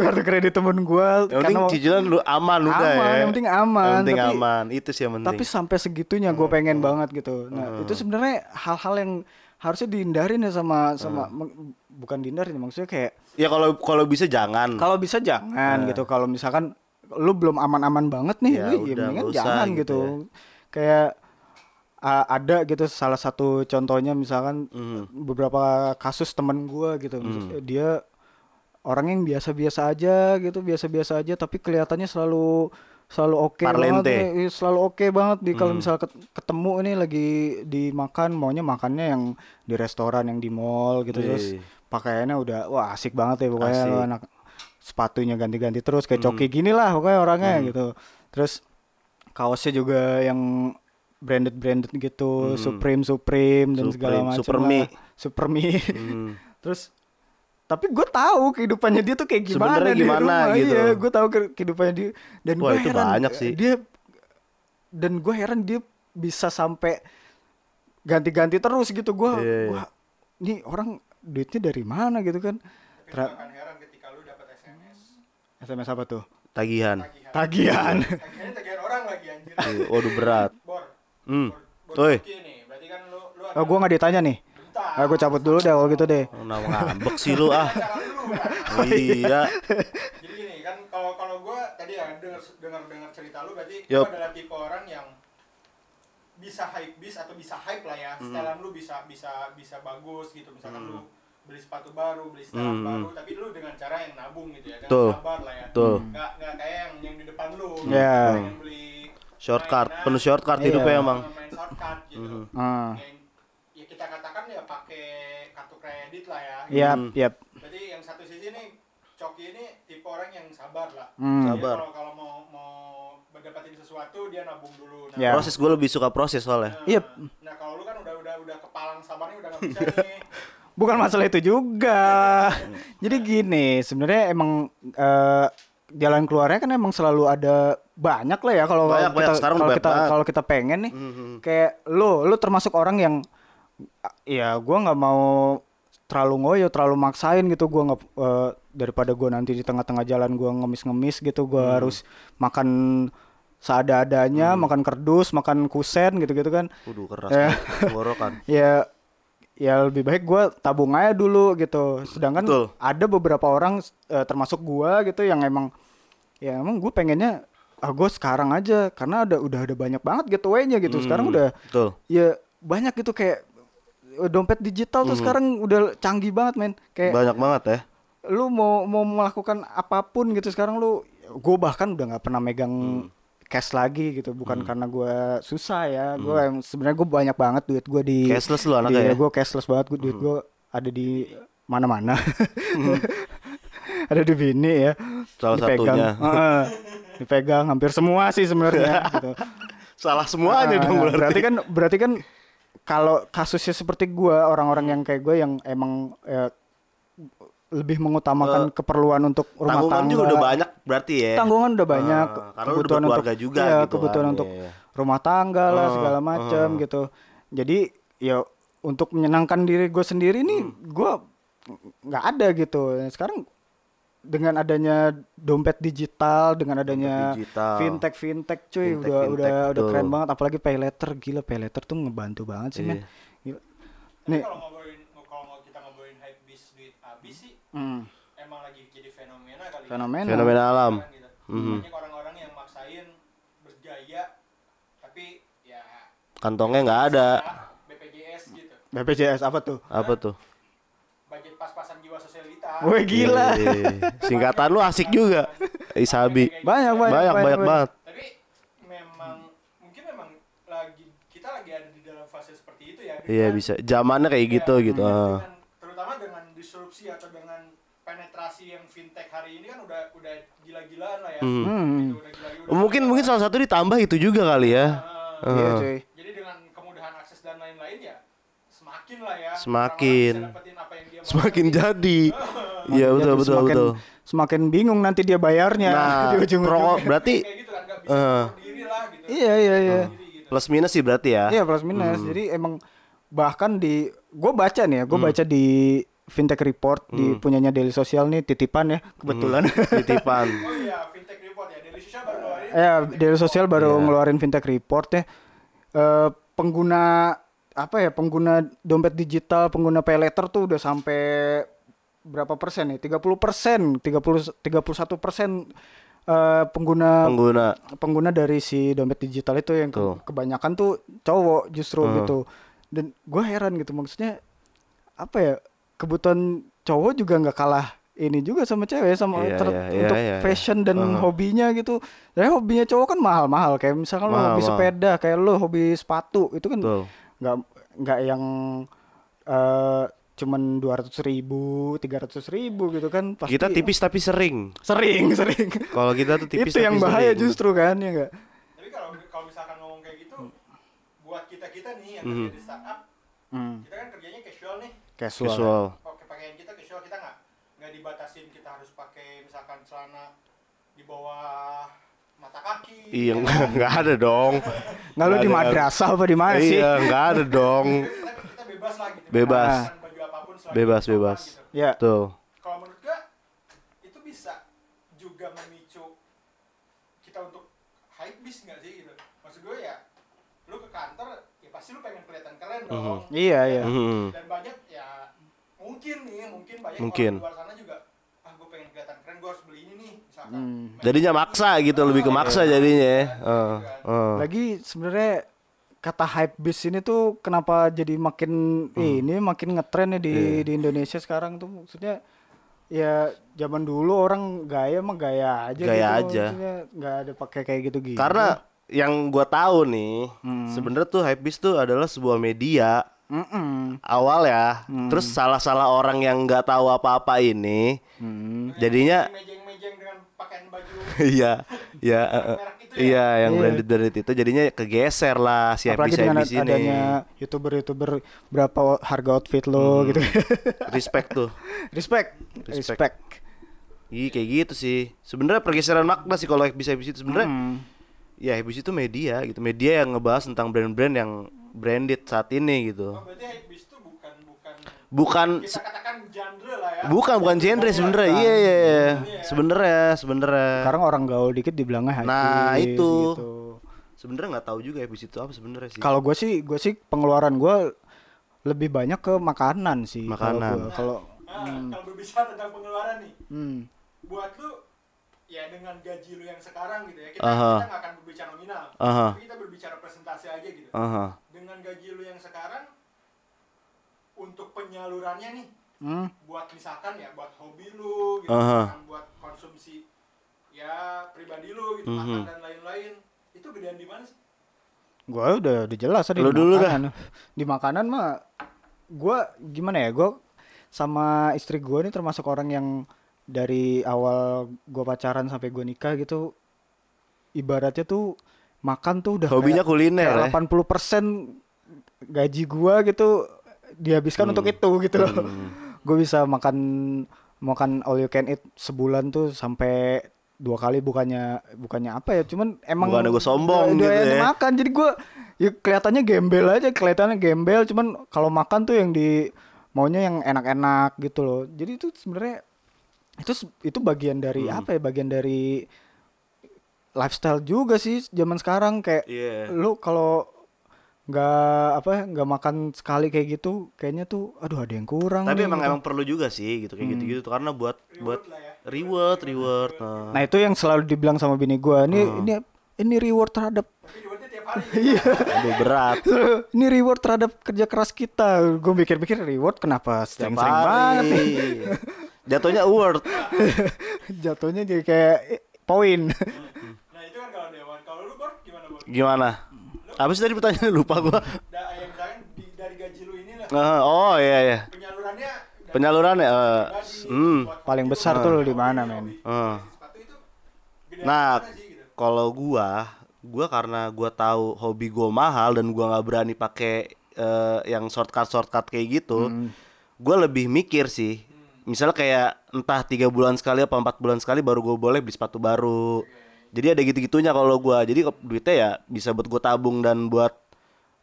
A: kartu kredit temen gue
B: Yang penting
A: karena
B: cicilan lu aman, udah
A: Aman,
B: ya.
A: yang penting aman,
B: Yang penting
A: tapi-
B: aman. Itu sih yang penting.
A: tapi sampai segitunya gue
B: Hmm.
A: pengen banget gitu. Nah itu sebenarnya hal-hal yang harusnya dihindarin ya sama
B: Hmm.
A: sama meng- bukan dihindarin maksudnya kayak
B: ya kalau kalau bisa jangan. Eh.
A: kalau bisa jangan gitu. Kalau misalkan lu belum aman-aman banget nih, lu ya
B: Ya udah,
A: mendingan
B: nggak usah
A: jangan
B: gitu
A: gitu. Kayak a- ada gitu salah satu contohnya misalkan
B: Mhm.
A: beberapa kasus temen gua gitu. Mis- Dia orang yang biasa-biasa aja gitu, biasa-biasa aja tapi kelihatannya selalu selalu oke banget
B: Parlente. Mhm.
A: nih, iya, selalu oke banget di kalau misal ket- ketemu ini lagi dimakan maunya makannya yang di restoran yang di mall gitu terus
B: Iya.
A: pakaiannya udah wah asik banget ya pokoknya lu
B: Asik. Hmm.
A: anak sepatunya ganti-ganti terus kayak coki gini lah pokoknya orangnya gitu terus kaosnya juga yang branded branded gitu supreme supreme dan segala
B: Hmm. Supreme, Hmm.
A: macam lah.
B: Supermi.
A: Supermi. terus tapi gue tahu kehidupannya dia tuh kayak gimana
B: Sebenarnya
A: di
B: gimana
A: rumah.
B: gitu.
A: iya gue tahu ke- kehidupannya dia dan
B: Wah,
A: gue
B: itu
A: heran
B: banyak sih.
A: dia dan gue heran dia bisa sampai ganti-ganti terus gitu gue
B: Iya, iya.
A: gua ini orang duitnya dari mana gitu kan
C: Gak
A: Tra-
C: akan heran ketika lu dapat SMS.
A: SMS apa tuh
B: Tagihan.
C: Tagihan.
A: tagihan
C: Tagihannya tagihan orang lagi anjir.
B: Iya, Waduh berat.
C: Bor.
B: Hmm.
C: Bor, bor
B: Oi.
C: Turki nih. Berarti kan lu lu
A: oh, gue nggak ditanya nih
C: Bentar.
A: ah, gue cabut dulu deh kalau gitu deh
B: Kenapa Nah, ngambek sih lu ah?
C: Acara dulu kan.
B: iya.
C: Jadi gini kan kalau kalau gue tadi ya dengar dengar dengar cerita lu berarti
B: Yup.
C: lu adalah tipe orang yang bisa hype bis atau bisa hype lah ya setelan lu bisa bisa bisa bagus gitu misalkan lu beli sepatu baru beli setelan
B: Hmm.
C: baru tapi lu dengan cara yang nabung gitu ya dengan
B: Tuh.
C: sabar lah ya
B: Tuh.
C: nggak nggak kayak yang yang di depan lu
A: Iya.
C: yang beli
B: Shortcut,
C: mainan,
B: Ya. penuh shortcut
A: Iya.
B: hidupnya emang.
C: main shortcut gitu
A: Ah.
C: Yang- ya kita katakan ya pakai kartu kredit lah ya gitu.
A: Yap,
B: Hmm.
A: yap.
C: Berarti yang satu sisi nih Coki ini tipe orang yang sabar lah.
A: Hmm.
C: Dia
B: Sabar.
C: Kalau kalau mau mau mendapatkan sesuatu dia nabung dulu. Nah,
A: Ya.
B: Proses gue lebih suka proses soalnya.
C: Nah,
A: Yep.
C: nah kalau lu kan udah udah udah kepalang sabarnya udah nggak bisa nih.
A: Bukan masalah itu juga.
B: Hmm.
A: Jadi gini, sebenarnya emang eh, jalan keluarnya kan emang selalu ada banyak lah ya kalau kita
B: Banyak, banyak. Sekarang
A: kalau
B: banyak
A: kita
B: banget.
A: kalau kita pengen nih.
B: Kan Mhm.
A: Kayak lu, lu termasuk orang yang ah, ya gua nggak mau terlalu ngoyo, terlalu maksain gitu gua nggak eh, daripada gua nanti di tengah-tengah jalan gua ngemis-ngemis gitu gua harus makan seada-adanya, makan kerdus, makan kusen gitu-gitu kan.
B: Waduh keras
A: Eh.
B: banget, tenggorokan.
A: ya ya lebih baik gua tabung aja dulu gitu sedangkan
B: Betul.
A: ada beberapa orang eh, termasuk gua gitu yang emang ya emang gue pengennya ah gue sekarang aja karena ada udah ada banyak banget getaway-nya gitu sekarang
B: Hmm,
A: udah
B: Betul.
A: ya banyak gitu kayak eh, dompet digital tuh sekarang udah canggih banget men kayak
B: Banyak banget ya.
A: lu mau mau melakukan apapun gitu sekarang lu gue bahkan udah nggak pernah megang cash lagi gitu bukan karena gua susah ya gua gue sebenarnya gue banyak banget duit gue di
B: Cashless lu anaknya ya?
A: gue cashless banget iya. gua, duit gue ada di mana-mana ada di bini ya
B: Salah
A: dipegang
B: satunya.
A: Heeh. dipegang hampir semua sih sebenarnya gitu.
B: Salah
A: Nah,
B: semuanya dong
A: nah,
B: berarti.
A: kan berarti kan kalau kasusnya seperti gua orang-orang yang kayak gue yang emang eh, lebih mengutamakan keperluan untuk rumah
B: Tanggungan
A: tangga
B: juga udah banyak berarti ya.
A: tanggungan udah banyak
B: Ah, karena lu udah berkeluarga juga
A: iya,
B: gitu
A: kebutuhan
B: kan,
A: untuk
B: iya.
A: rumah tangga lah
B: Ah,
A: segala macam gitu jadi ya untuk menyenangkan diri gue sendiri nih
B: Hmm.
A: gue nggak ada gitu sekarang dengan adanya dompet digital dengan adanya
B: digital.
A: fintech fintech cuy
B: Fintech,
A: udah udah
B: fintech,
A: udah keren
B: betul.
A: banget apalagi pay letter gila pay letter tuh ngebantu banget sih men Gila.
B: Iya.
C: Tapi
A: nih
C: kalau ngobrolin kalau mau kita ngobrolin hype bis duit habis sih
A: mm,
C: emang lagi jadi fenomena kali. ya.
A: fenomena,
B: Fenomena alam.
C: Kan gitu.
B: Mhm.
C: Banyak orang-orang yang maksain bergaya tapi ya
B: Kantongnya nggak ada.
C: ah, BPJS gitu.
A: BPJS apa tuh
B: Apa tuh?
C: Budget pas-pasan jiwa sosialita.
A: Woi gila
B: Yeay. Iya, Singkatan lu asik juga. Isabi.
A: banyak banyak
B: Banyak banyak banget.
C: tapi memang mungkin memang lagi kita lagi ada di dalam fase seperti itu ya
B: Iya
C: dengan-
B: bisa. Zamannya kayak gitu
C: ya,
B: gitu.
C: dengan-
B: Ah.
C: dengan- terutama dengan disrupsi atau dengan penetrasi yang fintech hari ini kan udah udah gila-gilaan lah ya
A: Hmm.
C: Gitu, udah gila-gilaan.
B: Mungkin mungkin salah satu ditambah itu juga kali ya.
C: Nah,
A: iya cuy
C: jadi dengan kemudahan akses dan lain-lain ya semakin lah ya
B: Semakin.
C: orang-orang bisa dapetin apa yang dia mau.
B: Semakin jadi. Iya betul
A: Jadi
B: betul
A: semakin,
B: betul.
A: Semakin bingung nanti dia bayarnya
B: Nah,
A: di ujung
B: perokok berarti
C: kayak gitu kan nggak bisa
B: Eh.
C: berdiri lah gitu
A: Iya iya iya.
B: Oh.
C: Berdiri gitu.
B: plus minus sih berarti ya.
A: Iya plus minus. Jadi emang bahkan di gue baca nih ya, gue baca di fintech report di punyanya Daily Sosial nih titipan ya kebetulan.
B: Hmm, Titipan.
C: oh iya fintech report ya dari Shisha baru keluarin
A: ya Daily Sosial baru
B: Iya.
A: ngeluarin fintech report ya. Eh, pengguna apa ya pengguna dompet digital, pengguna pay letter tuh udah sampai berapa persen nih? 30 persen, 30 31 persen eh, pengguna
B: Pengguna.
A: pengguna dari si dompet digital itu yang ke-
B: Tuh.
A: kebanyakan tuh cowok justru gitu dan gue heran gitu maksudnya apa ya kebutuhan cowok juga nggak kalah ini juga sama cewek sama
B: Iya,
A: ter-
B: iya,
A: untuk
B: iya, iya.
A: fashion dan
B: Heeh.
A: hobinya gitu. Ya hobinya cowok kan mahal-mahal kayak misalkan lo
B: Mahal,
A: hobi
B: mahal.
A: sepeda, kayak lo hobi sepatu itu kan
B: Betul.
A: nggak nggak yang eh cuman dua ratus ribu, tiga ratus ribu gitu kan pasti
B: Kita tipis tapi sering.
A: sering sering
B: Kalau kita tuh
A: itu
B: tipis tapi
A: yang bahaya
B: sering.
A: justru kan ya enggak
C: Tapi kalau kalau misalkan ngomong kayak gitu, buat kita kita nih yang
B: Mhm.
C: kerja di startup, kita kan kerjanya casual nih.
A: Hmm, Casual.
B: Visual.
C: Pakai pakaian kita casual kita nggak nggak dibatasin kita harus pakai misalkan celana di bawah mata kaki.
B: Iya
C: ya
B: nggak
C: kan?
B: nggak ada dong.
A: Nggak Nah, lu
B: Nggak
A: di
B: ada.
A: madrasah apa di mana sih?
B: Iya nggak ada dong.
C: Kita, kita bebas lah gitu.
B: Bebas.
C: Kita menggunakan baju apapun selagi
B: Bebas,
C: kita nyaman
B: bebas.
C: gitu.
A: Ya.
B: Tuh.
C: Kalau menurut gua itu bisa juga memicu kita untuk hype bis nggak sih gitu. Maksud gue ya, lu ke kantor ya pasti lu pengen kelihatan keren dong.
A: Iya, iya.
B: Mhm.
C: dan banyak ya mungkin nih mungkin banyak
B: Mungkin.
C: orang di luar sana juga ah gue pengen kelihatan keren gue harus beli ini nih misalkan
A: Hmm.
C: Main-
B: Jadinya maksa gitu lebih ke maksa jadinya. ya. Heeh. heeh.
A: Lagi sebenarnya kata hype beast ini tuh kenapa jadi makin
B: Hmm.
A: ini makin ngetren ya di
B: Iya.
A: di Indonesia sekarang tuh maksudnya ya zaman dulu orang gaya mah gaya aja
B: Gaya
A: gitu,
B: aja.
A: maksudnya nggak ada pakai kayak gitu gitu
B: Karena yang gua tahu nih,
A: Hmm.
B: sebenarnya tuh hypebeast tuh adalah sebuah media awal ya.
A: Hmm.
B: Terus salah-salah orang yang nggak tahu apa-apa ini,
A: Hmm.
B: jadinya
C: mejeng-mejeng dengan pakaian baju
B: iya, iya, eh, eh,
C: merek itu ya?
B: iya yang
A: Iya.
B: branded branded itu jadinya kegeser lah si
A: apalagi
B: hypebeast
A: dengan
B: hypebeast ini.
A: adanya youtuber youtuber berapa o- harga outfit lo gitu
B: Respect tuh.
A: respect
B: Hmm. Respect.
A: respect
B: Iya kayak gitu sih. Sebenarnya pergeseran makna sih kalau hypebeast hypebeast itu sebenarnya.
A: Hmm.
B: Ya hypebeast itu media gitu, media yang ngebahas tentang brand-brand yang branded saat ini gitu.
C: oh, berarti hypebeast itu bukan bukan
B: Bukan
C: kita katakan genre lah ya
B: Bukan bukan genre sebenarnya. Iya iya iya. Sebenarnya sebenarnya.
A: sekarang orang gaul dikit dibilangnya hype
B: Nah,
A: beast
B: itu.
A: gitu.
B: Sebenarnya nggak tahu juga habis itu apa sebenarnya sih.
A: kalau gue sih gue sih pengeluaran gue lebih banyak ke makanan sih kalau
B: Makanan.
A: gua. kalau
C: Nah,
B: Hmm.
C: kalau berbicara tentang pengeluaran nih
A: hmm,
C: buat lu ya dengan gaji lu yang sekarang gitu ya kita
B: Aha.
C: kita nggak akan berbicara nominal
B: Aha.
C: tapi kita berbicara presentasi aja gitu
B: Aha.
C: dengan gaji lu yang sekarang untuk penyalurannya nih
A: hmm,
C: buat misalkan ya buat hobi lu gitu
B: Aha.
C: misalkan buat konsumsi ya pribadi lu gitu
B: Mhm.
C: makan dan lain-lain itu gedean di mana sih
A: gue udah udah jelas tadi
B: Lu
A: di
B: dulu
A: makanan. di makanan mah gue gimana ya gue sama istri gue nih termasuk orang yang dari awal gue pacaran sampai gue nikah gitu ibaratnya tuh makan tuh udah
B: Hobinya
A: kayak-
B: kuliner
A: kayak
B: ya?
A: 80% gaji gua gitu dihabiskan
B: Hmm.
A: untuk itu gitu loh. Gue bisa makan makan all you can eat sebulan tuh sampai dua kali bukannya bukannya apa ya cuman emang
B: Bukannya gua sombong gitu
A: doyan
B: ya.
A: makan jadi gua ya kelihatannya gembel aja kelihatannya gembel cuman kalau makan tuh yang di maunya yang enak-enak gitu loh jadi itu sebenarnya itu se- itu bagian dari
B: Hmm.
A: apa ya bagian dari lifestyle juga sih zaman sekarang kayak
B: Iya.
A: lu kalau nggak apa ya, nggak makan sekali kayak gitu kayaknya tuh aduh ada yang kurang
B: Tapi
A: nih,
B: emang
A: gitu.
B: emang perlu juga sih gitu kayak gitu-gitu tuh. karena buat buat
C: lah ya.
B: reward reward. nah.
A: nah itu yang selalu dibilang sama bini gua ini
B: Oh.
A: ini ini reward terhadap
C: tapi duitnya tiap hari gitu.
B: Aduh berat.
A: ini reward terhadap kerja keras kita gue mikir-mikir reward kenapa
B: Tiap
A: sering-sering banget
B: hari.
A: nih
B: Jatuhnya award.
A: jatuhnya jadi kayak eh, poin
C: nah itu kan kalau dewan kalau lu bor gimana bor
B: Gimana? Apa sih tadi pertanyaan lupa gua.
C: da, ya misalkan di- dari gaji lu ini lah
B: Aha, oh iya iya.
C: penyalurannya dari
B: Penyaluran ya. eh,
C: pribadi,
B: hmm.
C: buat
A: Paling
C: hobi lu,
A: besar
C: buat
A: tuh lu
C: hobi
A: di mana,
C: lu,
A: men?
B: Eh.
C: hobi bisnis sepatu itu gedean di
B: Nah,
C: mana sih, gitu?
B: kalau gua, gua karena gua tahu hobi gua mahal dan gua nggak berani pakai eh, yang shortcut shortcut kayak gitu, gua lebih mikir sih. Misalnya kayak entah tiga bulan sekali apa empat bulan sekali baru gua boleh beli sepatu baru. Jadi ada gitu-gitunya kalau gua. Jadi kok duitnya ya bisa buat gua tabung dan buat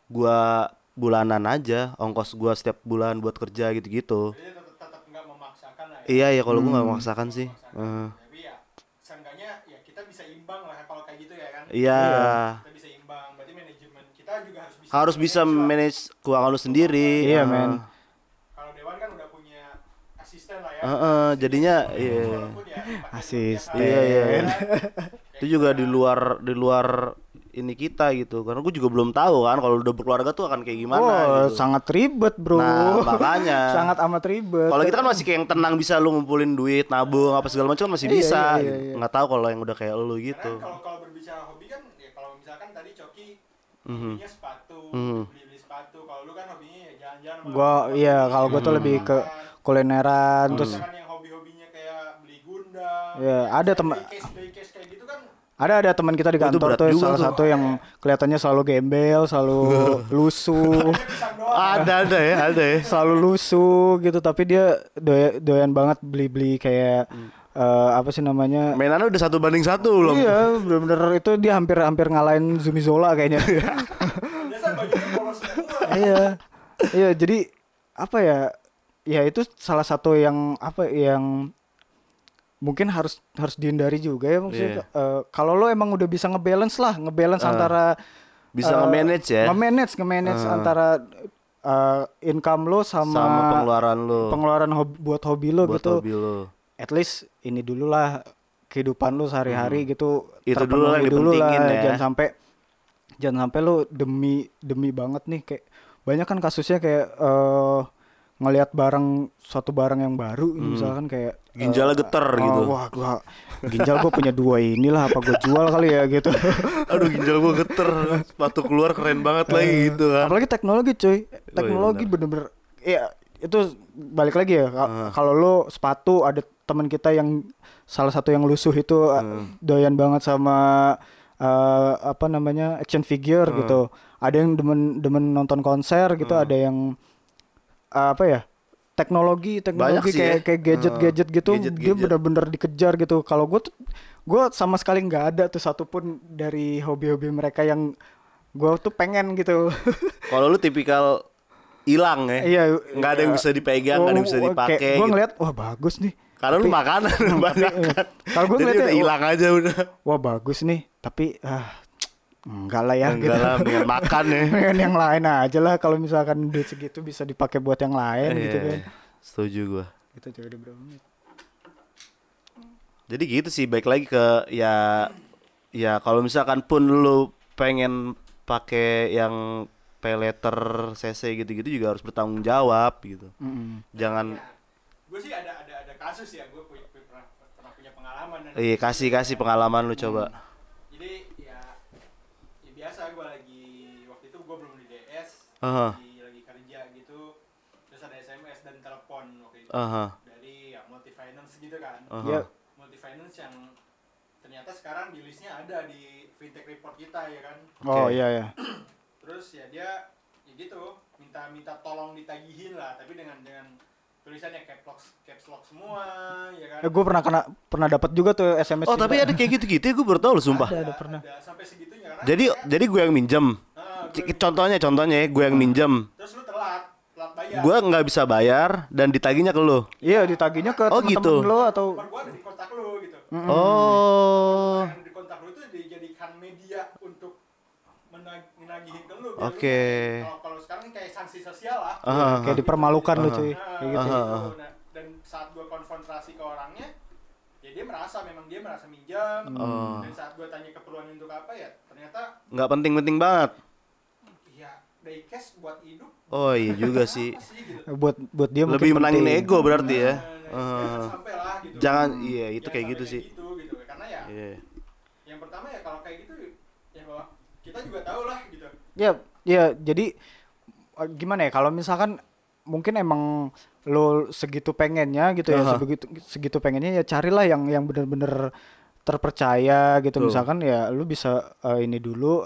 B: gua bulanan aja ongkos gua setiap bulan buat kerja gitu-gitu.
C: jadi tetap tetap nggak memaksakan lah ya
B: Iya ya kalau gua nggak memaksakan sih. Eh,
C: tapi ya seenggaknya ya kita bisa imbang lah kalau kayak gitu ya kan
B: Iya.
C: kita bisa imbang berarti manajemen kita juga harus bisa
B: harus bisa
C: manage lah.
B: manage keuangan lu sendiri.
A: iya
B: Ah.
A: men
C: kalau dewan kan udah punya asisten lah ya
B: Ah. Heeh, jadinya iya.
C: Walaupun ya dipakai dulu
A: Asisten.
C: tiap hari,
B: Iya, iya,
C: ya
B: iya.
C: kan?
B: Itu juga di luar di luar ini kita gitu. Karena gue juga belum tahu kan kalau udah berkeluarga tuh akan kayak gimana
A: Wah,
B: gitu.
A: sangat ribet bro
B: Nah, makanya.
A: sangat amat ribet
B: Kalau kita kan masih kayak yang tenang bisa lu ngumpulin duit, nabung apa segala macam masih
A: Iya,
B: bisa.
A: iya,
B: gitu.
A: iya, iya.
B: Nggak tahu kalau yang udah kayak lu
C: Karena
B: gitu.
C: Kan, kalau kalau berbicara hobi kan ya kalau misalkan tadi coki
B: Mhm.
C: hobinya sepatu beli-beli sepatu kalau lu kan hobinya ya jalan-jalan sama
A: gua
C: teman-teman.
A: iya kalau gua
B: Hmm.
A: tuh lebih ke kulineran
C: Kalau
A: terus
C: misalkan yang hobi-hobinya kayak beli gundang
A: Iya, ada
C: kayak
A: teman-
C: beli case beli case kayak gitu kan
A: ada ada teman kita di
B: Itu
A: kantor
B: berat
A: tuh
B: juga
A: salah
B: tuh.
A: satu yang kelihatannya selalu gembel, selalu lusuh,
C: dia pisang doang
B: Ada ada ya, ada ya.
A: selalu lusuh gitu tapi dia doya- doyan banget beli-beli kayak
B: Hmm.
A: eh, apa sih namanya?
B: Mainannya udah satu banding satu belum.
A: Iya, bener-bener itu dia hampir-hampir ngalahin Zumi Zola kayaknya.
B: Iya.
C: biasa bajunya polos semua
A: iya. Iya, jadi apa ya? Ya itu salah satu yang apa yang mungkin harus harus dihindari juga ya maksudnya
B: Iya. Ah.
A: eh, kalau lo emang udah bisa ngebalance lah, ngebalance antara
B: Bisa
A: eh,
B: nge-manage ya
A: Nge-manage, nge-manage antara eh, income lo sama,
B: Ah. sama pengeluaran lu.
A: pengeluaran hobi, buat hobi lo
B: buat
A: gitu.
B: hobi lu.
A: At least ini dulu lah kehidupan lo sehari-hari gitu
B: Hmm. Itu dulu
A: terpenuhi
B: lah yang
A: dulu lah,
B: dipentingin ya.
A: jangan sampai jangan sampai lu demi demi banget nih kayak banyak kan kasusnya kayak eh ngelihat barang suatu barang yang baru gitu, misalkan kayak eh,
B: Ginjalnya geter
A: oh,
B: Hmm. gitu.
A: wah gua ginjal gua punya dua inilah apa gua jual kali ya gitu
B: Aduh ginjal gua geter, sepatu keluar keren banget
A: Eh.
B: lagi gitu kan.
A: apalagi teknologi cuy teknologi bener-bener ya itu balik lagi ya ka-
B: Ah.
A: kalau lo sepatu ada teman kita yang salah satu yang lusuh itu uh,
B: Hmm.
A: doyan banget sama uh, apa namanya action figure
B: Hmm.
A: gitu ada yang demen demen nonton konser gitu ada yang uh, apa ya teknologi teknologi
B: sih
A: kayak
B: ya.
A: kayak gadget gadget gitu dia
B: Gadget-gadget.
A: bener-bener dikejar gitu kalau gue tuh gue sama sekali nggak ada tuh satupun dari hobi-hobi mereka yang gue tuh pengen gitu
B: Kalau lu tipikal hilang ya.
A: Iya,
B: Nggak ada yang
A: iya.
B: bisa dipegang, nggak ada yang bisa dipakai.
A: Gue
B: gitu.
A: ngeliat, wah bagus nih.
B: Karena lu
A: Tapi-
B: makanan banyak
A: iya.
B: kan.
A: Kalau gua
B: Jadi
A: ngeliatnya,
B: udah hilang aja udah.
A: Wah bagus nih, tapi ah, enggak lah ya.
B: Enggak
A: gitu. Iya,
B: lah, mendingan makan ya.
A: Pengen yang lain aja lah kalau misalkan duit segitu bisa dipakai buat yang lain
B: Iya,
A: gitu kan.
B: Setuju gua.
A: Gitu coba udah berapa menit?
B: Jadi gitu sih, baik lagi ke ya ya kalau misalkan pun lu pengen pakai yang peleter CC gitu-gitu juga harus bertanggung jawab gitu.
A: Mm-mm.
B: Jangan
C: gue ya, sih ada ada ada kasus ya gue punya, punya- pernah pernah punya pengalaman dan
B: iya kasih kasih pengalaman lu coba.
C: jadi ya ya biasa gue lagi waktu itu gue belum di DS
B: Aha.
C: lagi lagi kerja gitu terus ada SMS dan telepon waktu itu
B: Aha.
C: dari ya multi finance gitu kan
B: Aha.
A: Ya,
C: multi finance yang ternyata sekarang di listnya ada di fintech report kita ya kan
A: Oh
B: Oke.
A: iya ya.
C: terus ya dia ya gitu minta minta tolong ditagihin lah tapi dengan dengan tulisannya caps lock caps lock semua ya kan
A: Eh, gue pernah kena pernah dapat juga tuh SMS.
B: Oh, tapi
A: juga.
B: ada kayak gitu-gitu ya, gua baru tahu lu sumpah.
A: Ada, ada pernah.
C: ada sampai segitunya karena
B: Jadi
C: kayak,
B: jadi gue yang minjem.
C: ah,
B: C-
C: gua-
B: Contohnya contohnya ya, gue yang minjem.
C: terus lu telat telat bayar
B: Gue nggak bisa bayar dan ditagihnya ke lu.
A: Iya ditagihnya ke
B: Oh,
A: temen-temen
B: gitu.
A: lo atau
C: nomor gua ada di kontak lu gitu
B: Hmm. Oh.
C: yang di kontak lu itu dijadikan media untuk menag- menagihin ke lu biar lu
B: Oke.
C: nagih. kalau kalau sekarang kayak sanksi sosial lah
B: Aha.
A: kayak dipermalukan lo cuy.
C: Nah,
A: Kayak gitu.
C: kayak
B: Aha,
C: gitu. Nah, dan saat gue konfrontasi ke orangnya ya dia merasa memang dia merasa minjam
B: Oh.
C: dan saat gue tanya keperluan untuk apa ya ternyata
B: Nggak penting-penting banget.
C: ya day cash buat hidup
B: Oh iya juga sih.
C: apa sih gitu Nah,
A: Buat buat dia mungkin
B: Lebih menangin
A: penting.
B: ego berarti ya.
C: jangan
B: Aha.
C: sampai lah gitu
B: Jangan iya itu
C: Jangan
B: kayak
C: sampai
B: gitu sih.
C: gitu, gitu. karena ya
B: Iya.
C: yang pertama ya kalau kayak gitu ya bahwa kita juga tahu lah gitu
A: Ya, ya jadi eh, gimana ya kalau misalkan mungkin emang lo segitu pengennya gitu ya
B: Aha.
A: sebegitu segitu pengennya ya carilah yang yang bener-bener terpercaya gitu
B: Betul.
A: misalkan ya lu bisa eh, ini dulu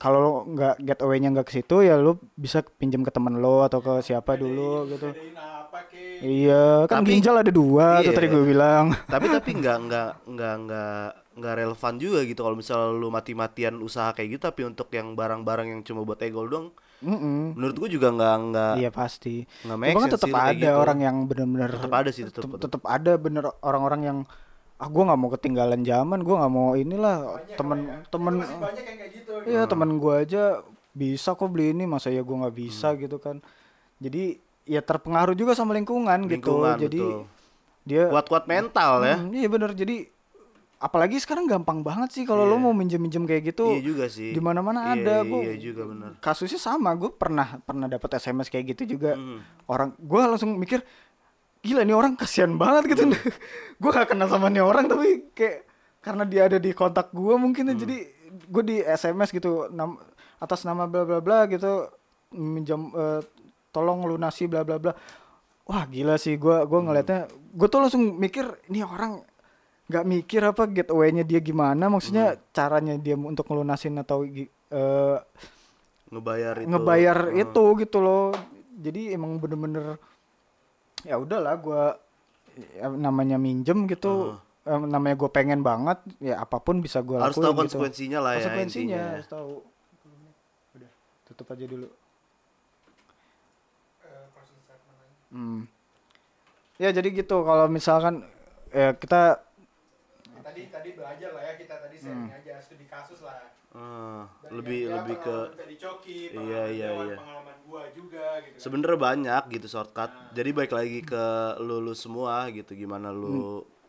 A: kalau lo nggak get away-nya nggak ke situ ya lu bisa pinjam ke temen lo atau ke siapa dulu
C: Bedain-
A: gitu
C: bedain apa ke
A: iya kan
B: Tapi-
A: ginjal ada dua tuh
B: Iya.
A: tadi gue bilang
B: Tapi tapi nggak nggak nggak nggak nggak relevan juga gitu kalau misalnya lu mati-matian usaha kayak gitu tapi untuk yang barang-barang yang cuma buat ego doang
A: Mm-mm.
B: menurut gue juga nggak nggak
A: Iya pasti.
B: nggak make
A: Cuma kan
B: sense
A: tetap
B: sih lu
A: ada
B: kayak gitu.
A: orang yang benar-benar
B: Tetap ada sih, tetap-
A: tetap, tetap ada bener orang-orang yang ah gue nggak mau ketinggalan zaman, gue nggak mau inilah
C: Banyak
A: temen
C: lah ya.
A: temen
C: Itu masih banyak yang kayak gitu
A: iya
B: Hmm.
A: temen gue aja bisa kok beli ini masa ya gue nggak
B: Hmm.
A: bisa gitu kan. Jadi ya terpengaruh juga sama lingkungan,
B: Lingkungan,
A: gitu. Jadi
B: betul.
A: dia
B: kuat-kuat mental ya.
A: Hmm, iya bener jadi apalagi sekarang gampang banget sih kalau lo
B: Iya.
A: mau minjem-minjem kayak gitu.
B: Iya juga sih.
A: Di mana-mana
B: Iya,
A: ada
B: iya,
A: gua-
B: Iya juga benar.
A: Kasusnya sama, gue pernah pernah dapat SMS kayak gitu juga
B: Hmm.
A: orang gue langsung mikir gila nih orang kasihan banget gitu gue gak kenal sama nih orang tapi kayak karena dia ada di kontak gue mungkin ya, jadi gue di sms gitu nam- atas nama bla bla bla gitu minjam eh, tolong lunasi bla bla bla wah gila sih gue gua ngelihatnya gue tuh langsung mikir ini orang nggak mikir apa getaway-nya dia gimana maksudnya caranya dia untuk ngelunasin atau gi- eh,
B: Ngebayar itu.
A: ngebayar
B: Hmm.
A: itu gitu loh jadi emang bener-bener ya udahlah gua ya, namanya minjem gitu em, namanya gue pengen banget ya apapun bisa gue
B: Hmm. Harus
A: lakuin
B: tahu
A: gitu.
B: konsekuensinya lah ya,
A: konsekuensinya
B: intinya.
A: harus tahu udah tutup aja dulu
C: Eh,
A: hmm. ya jadi gitu kalau misalkan ya kita
C: tadi tadi belajar lah ya kita tadi sharing aja studi kasus lah
B: Ah,
C: Dari
B: Hmm. lebih
C: yang dia
B: lebih ke
C: pengalaman dari coki pengalaman
B: Iya, iya,
C: Dewan,
B: iya.
C: pengalaman gua juga gitu kan.
B: sebenernya banyak gitu shortcut. Jadi baik lagi ke lu, lu semua gitu gimana
A: Hmm.
B: lu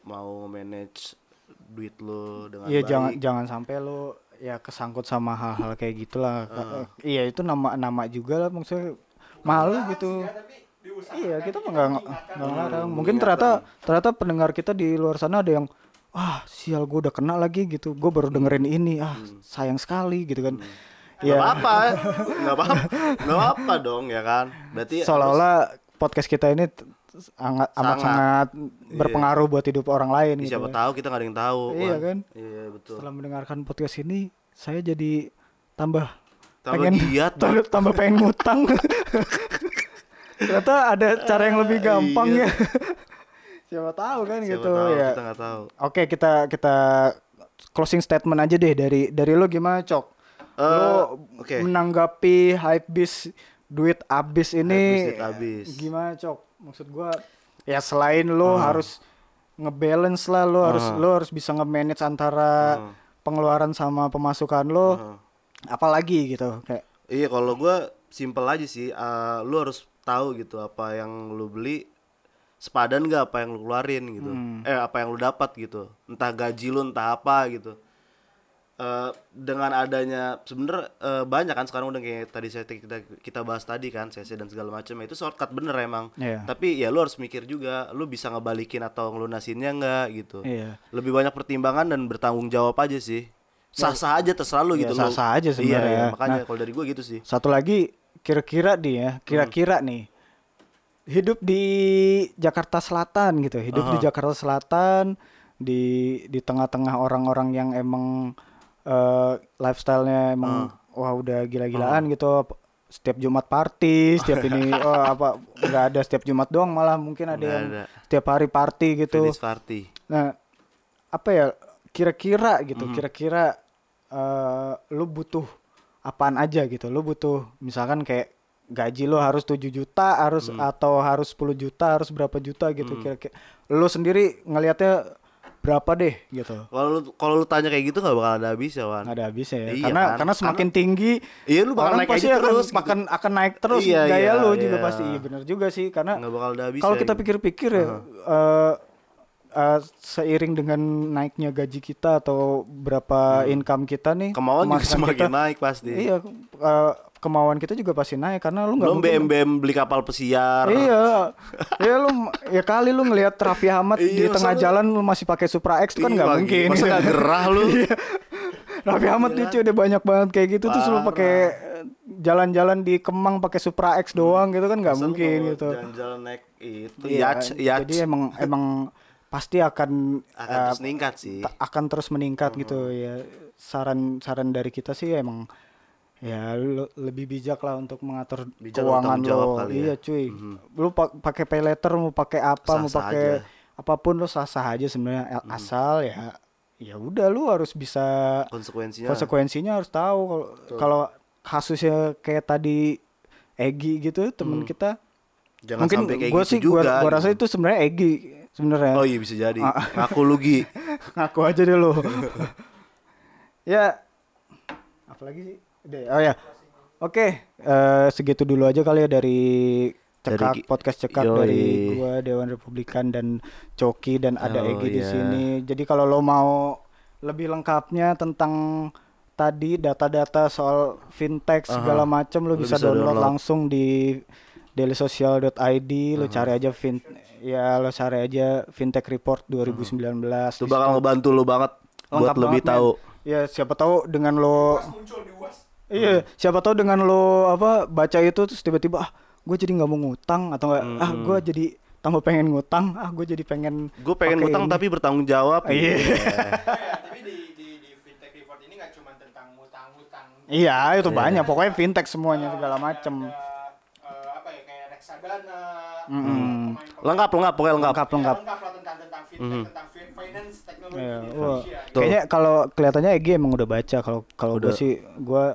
B: mau manage duit lu dengan
A: ya
B: baik.
A: jangan jangan sampai lo ya kesangkut sama hal-hal kayak gitulah
B: Hmm.
A: Ka- iya itu nama nama juga lah maksudnya malu
B: Iya,
C: Dilarang
A: gitu
C: sih ya, tapi diusahakan.
A: iya kita mah
B: gitu.
C: Kita
A: nggak nggak
C: mengingatkan.
A: ngelarang.
B: Hmm,
A: mungkin ternyata ternyata pendengar kita di luar sana ada yang ah sial gue udah kena lagi gitu gue baru dengerin ini ah sayang sekali gitu kan
B: Hmm. Nggak
A: ya
B: apa-apa, nggak apa-apa, nggak apa-apa dong ya kan. Berarti
A: seolah-olah podcast kita ini t- sangat amat
B: Sangat.
A: sangat berpengaruh buat hidup orang lain gitu
B: harus- ya siapa
A: kan.
B: tahu kita nggak ada yang tahu.
A: Iya
B: Wan.
A: kan?
B: Iya betul.
A: setelah mendengarkan podcast ini saya jadi tambah
B: Tambah
A: pengen
B: giat, Bang.
A: tambah, tambah pengen ngutang ternyata ada cara yang lebih gampang
B: Iya.
A: ya siapa tahu kan
B: Siapa
A: gitu
B: tahu
A: ya
B: kita nggak tahu.
A: oke kita kita closing statement aja deh dari dari lo gimana cok
B: Eh,
A: lo
B: oke.
A: menanggapi hype bis duit abis ini
B: Hypebeast duit abis.
A: gimana cok maksud gua ya selain lo
B: Ah.
A: harus ngebalance lah lo harus lo harus bisa nge-manage
B: Ah.
A: antara pengeluaran sama pemasukan lo apalagi gitu kayak
B: Iya kalau gua simple aja sih. Eh, lu harus tahu gitu apa yang lu beli sepadan nggak apa yang lu keluarin gitu.
A: Hmm.
B: Eh apa yang lu dapat gitu. Entah gaji lu entah apa gitu. Eh dengan adanya sebenernya eh, banyak kan sekarang udah kayak tadi saya kita kita bahas tadi kan CC dan segala macam itu shortcut bener emang.
A: Iya.
B: Tapi ya lu harus mikir juga, lu bisa ngebalikin atau ngelunasinnya nggak gitu.
A: Iya.
B: Lebih banyak pertimbangan dan bertanggung jawab aja sih. Sah-sah aja terserah lu
A: Iya,
B: gitu lu.
A: Ya. sah-sah aja
B: Iya,
A: sebenarnya. ya. Nah,
B: iya, makanya kalau dari gua gitu sih. Hmm.
A: satu lagi kira-kira nih ya kira-kira nih hidup di Jakarta Selatan gitu hidup di Jakarta Selatan di di tengah-tengah orang-orang yang emang eh, lifestyle-nya emang
B: Ah.
A: wah udah gila-gilaan gitu P- setiap Jumat party setiap ini oh, apa nggak ada setiap Jumat doang malah mungkin ada
B: Nggak
A: yang
B: ada.
A: setiap hari party gitu
B: Finish party.
A: Nah, apa ya kira-kira gitu,
B: Mhm.
A: kira-kira eh, lu butuh apaan aja gitu. Lu butuh misalkan kayak gaji lu harus 7 juta, harus
B: Mhm.
A: atau harus 10 juta, harus berapa juta gitu kira-kira. Lu sendiri ngelihatnya berapa deh gitu.
B: Kalau lu kalau lu tanya kayak gitu nggak bakal ada habisnya, Wan.
A: Nggak ada habisnya ya.
B: Iya
A: karena
B: kan?
A: karena semakin tinggi
B: Iya, lu bakal
A: orang
B: naik
A: pasti
B: aja
A: akan
B: terus gitu.
A: akan, akan naik terus
B: Iya,
A: gaya
B: iya,
A: lu juga
B: iya.
A: pasti. Iya bener juga sih karena
B: Nggak bakal ada habisnya.
A: kalau kita
B: gitu.
A: pikir-pikir ya eh, eh, seiring dengan naiknya gaji kita atau berapa income kita nih
B: Hmm. kemauan juga
A: pemasukan
B: semakin
A: kita-
B: naik pasti.
A: iya eh, kemauan kita juga pasti naik karena lu nggak
B: Belum
A: mungkin-
B: BM BM beli kapal pesiar.
A: Iya, iya lu ya kali lu ngelihat Raffi Ahmad di
B: Iya, masa
A: tengah
B: lu-
A: jalan lu masih pakai Supra X itu kan
B: Ih,
A: nggak
B: Bang,
A: mungkin. Iya,
B: Masa nggak gerah lu?
A: Raffi Ahmad lucu udah banyak banget kayak gitu terus lu
B: Parah. Hmm.
A: pakai eh, jalan-jalan di Kemang pakai Supra X doang gitu kan nggak
B: Masa lu
A: mungkin
B: kalau
A: gitu.
B: Jalan-jalan naik itu
A: Iya,
B: yacht yacht
A: Jadi emang emang pasti akan
B: akan
A: eh,
B: terus meningkat sih.
A: ta- akan terus meningkat gitu
B: Hmm.
A: ya. Saran saran dari kita sih emang ya lu lebih bijak lah untuk mengatur
B: Bijak
A: keuangan
B: bertanggung jawab
A: lo.
B: kali ya.
A: Iya cuy. Lu pa- pakai pay letter mau pakai apa mau
B: Sah-sah
A: pakai
B: aja. Hmm.
A: apapun lu sah-sah aja sebenarnya A- asal ya ya udah lu harus bisa
B: Konsekuensinya.
A: konsekuensinya harus tahu kalau kalau kasusnya kayak tadi Egi gitu temen kita
B: Hmm. jangan
A: mungkin
B: sampai kayak
A: gua
B: gitu
A: sih
B: juga.
A: gua, gua
B: gitu.
A: rasa itu sebenarnya Egi sebenarnya
B: Oh iya bisa jadi.
A: Ah.
B: Aku lugi.
A: ngaku aja deh lo ya apalagi sih Udah ya? oh ya oke eh, segitu dulu aja kali ya dari cekak
B: Dari Ki-
A: podcast cekak
B: Yoi.
A: dari gua Dewan Republikan dan Coki dan ada
B: Oh,
A: Egi di
B: iya.
A: sini jadi kalau lo mau lebih lengkapnya tentang tadi data-data soal fintech segala macam lo
B: Lo
A: bisa,
B: bisa
A: download,
B: download.
A: langsung di dailysocial.id lo cari aja fin ya lo cari aja fintech report 2019
B: Itu bakal ngebantu lu banget buat
A: Lengkap
B: lebih
A: banget, men.
B: tahu.
A: Ya siapa tahu dengan lo
C: Pas muncul di uas
A: Iya, siapa tahu dengan lo apa baca itu terus tiba-tiba ah gue jadi nggak mau ngutang atau enggak ah gue jadi tambah pengen ngutang ah gue jadi pengen
B: Gue pengen
A: pakai
B: utang
A: ini."
B: tapi bertanggung jawab.
A: Iya.
C: Oh ya, tapi di di di fintech report ini nggak cuma tentang utang-utang
A: iya itu banyak pokoknya fintech semuanya segala macem
C: Ada, eh, apa ya kayak reksadana pemain-pemain-
B: Lengkap lengkap pokoknya Hmm.
A: lengkap lengkap
B: lengkap.
C: Ya,
B: Hmm.
C: lengkap lah tentang tentang fintech tentang fin- finance teknologi
A: Iya,
C: di
A: wah.
C: Indonesia gitu.
B: Tuh.
A: kayaknya kalau kelihatannya Egi emang udah baca kalau kalau gue
B: Udah.
A: sih gue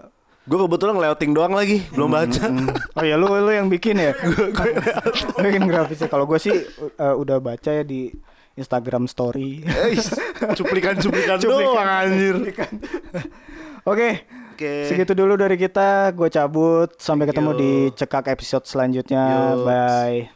B: Gue kebetulan ngelewatin doang lagi, belum baca.
A: oh ya lu lu yang bikin ya Lu bikin grafisnya kalau gue sih eh, udah baca ya di Instagram Story
B: Eh, Cuplikan-cuplikan doang
A: Cuplikan.
B: anjir.
A: Oke.
B: iya kan? Oke.
A: Segitu dulu dari kita. Gue cabut. Sampai ketemu
B: you.
A: di cekak episode selanjutnya.
B: Yuk.
A: Bye.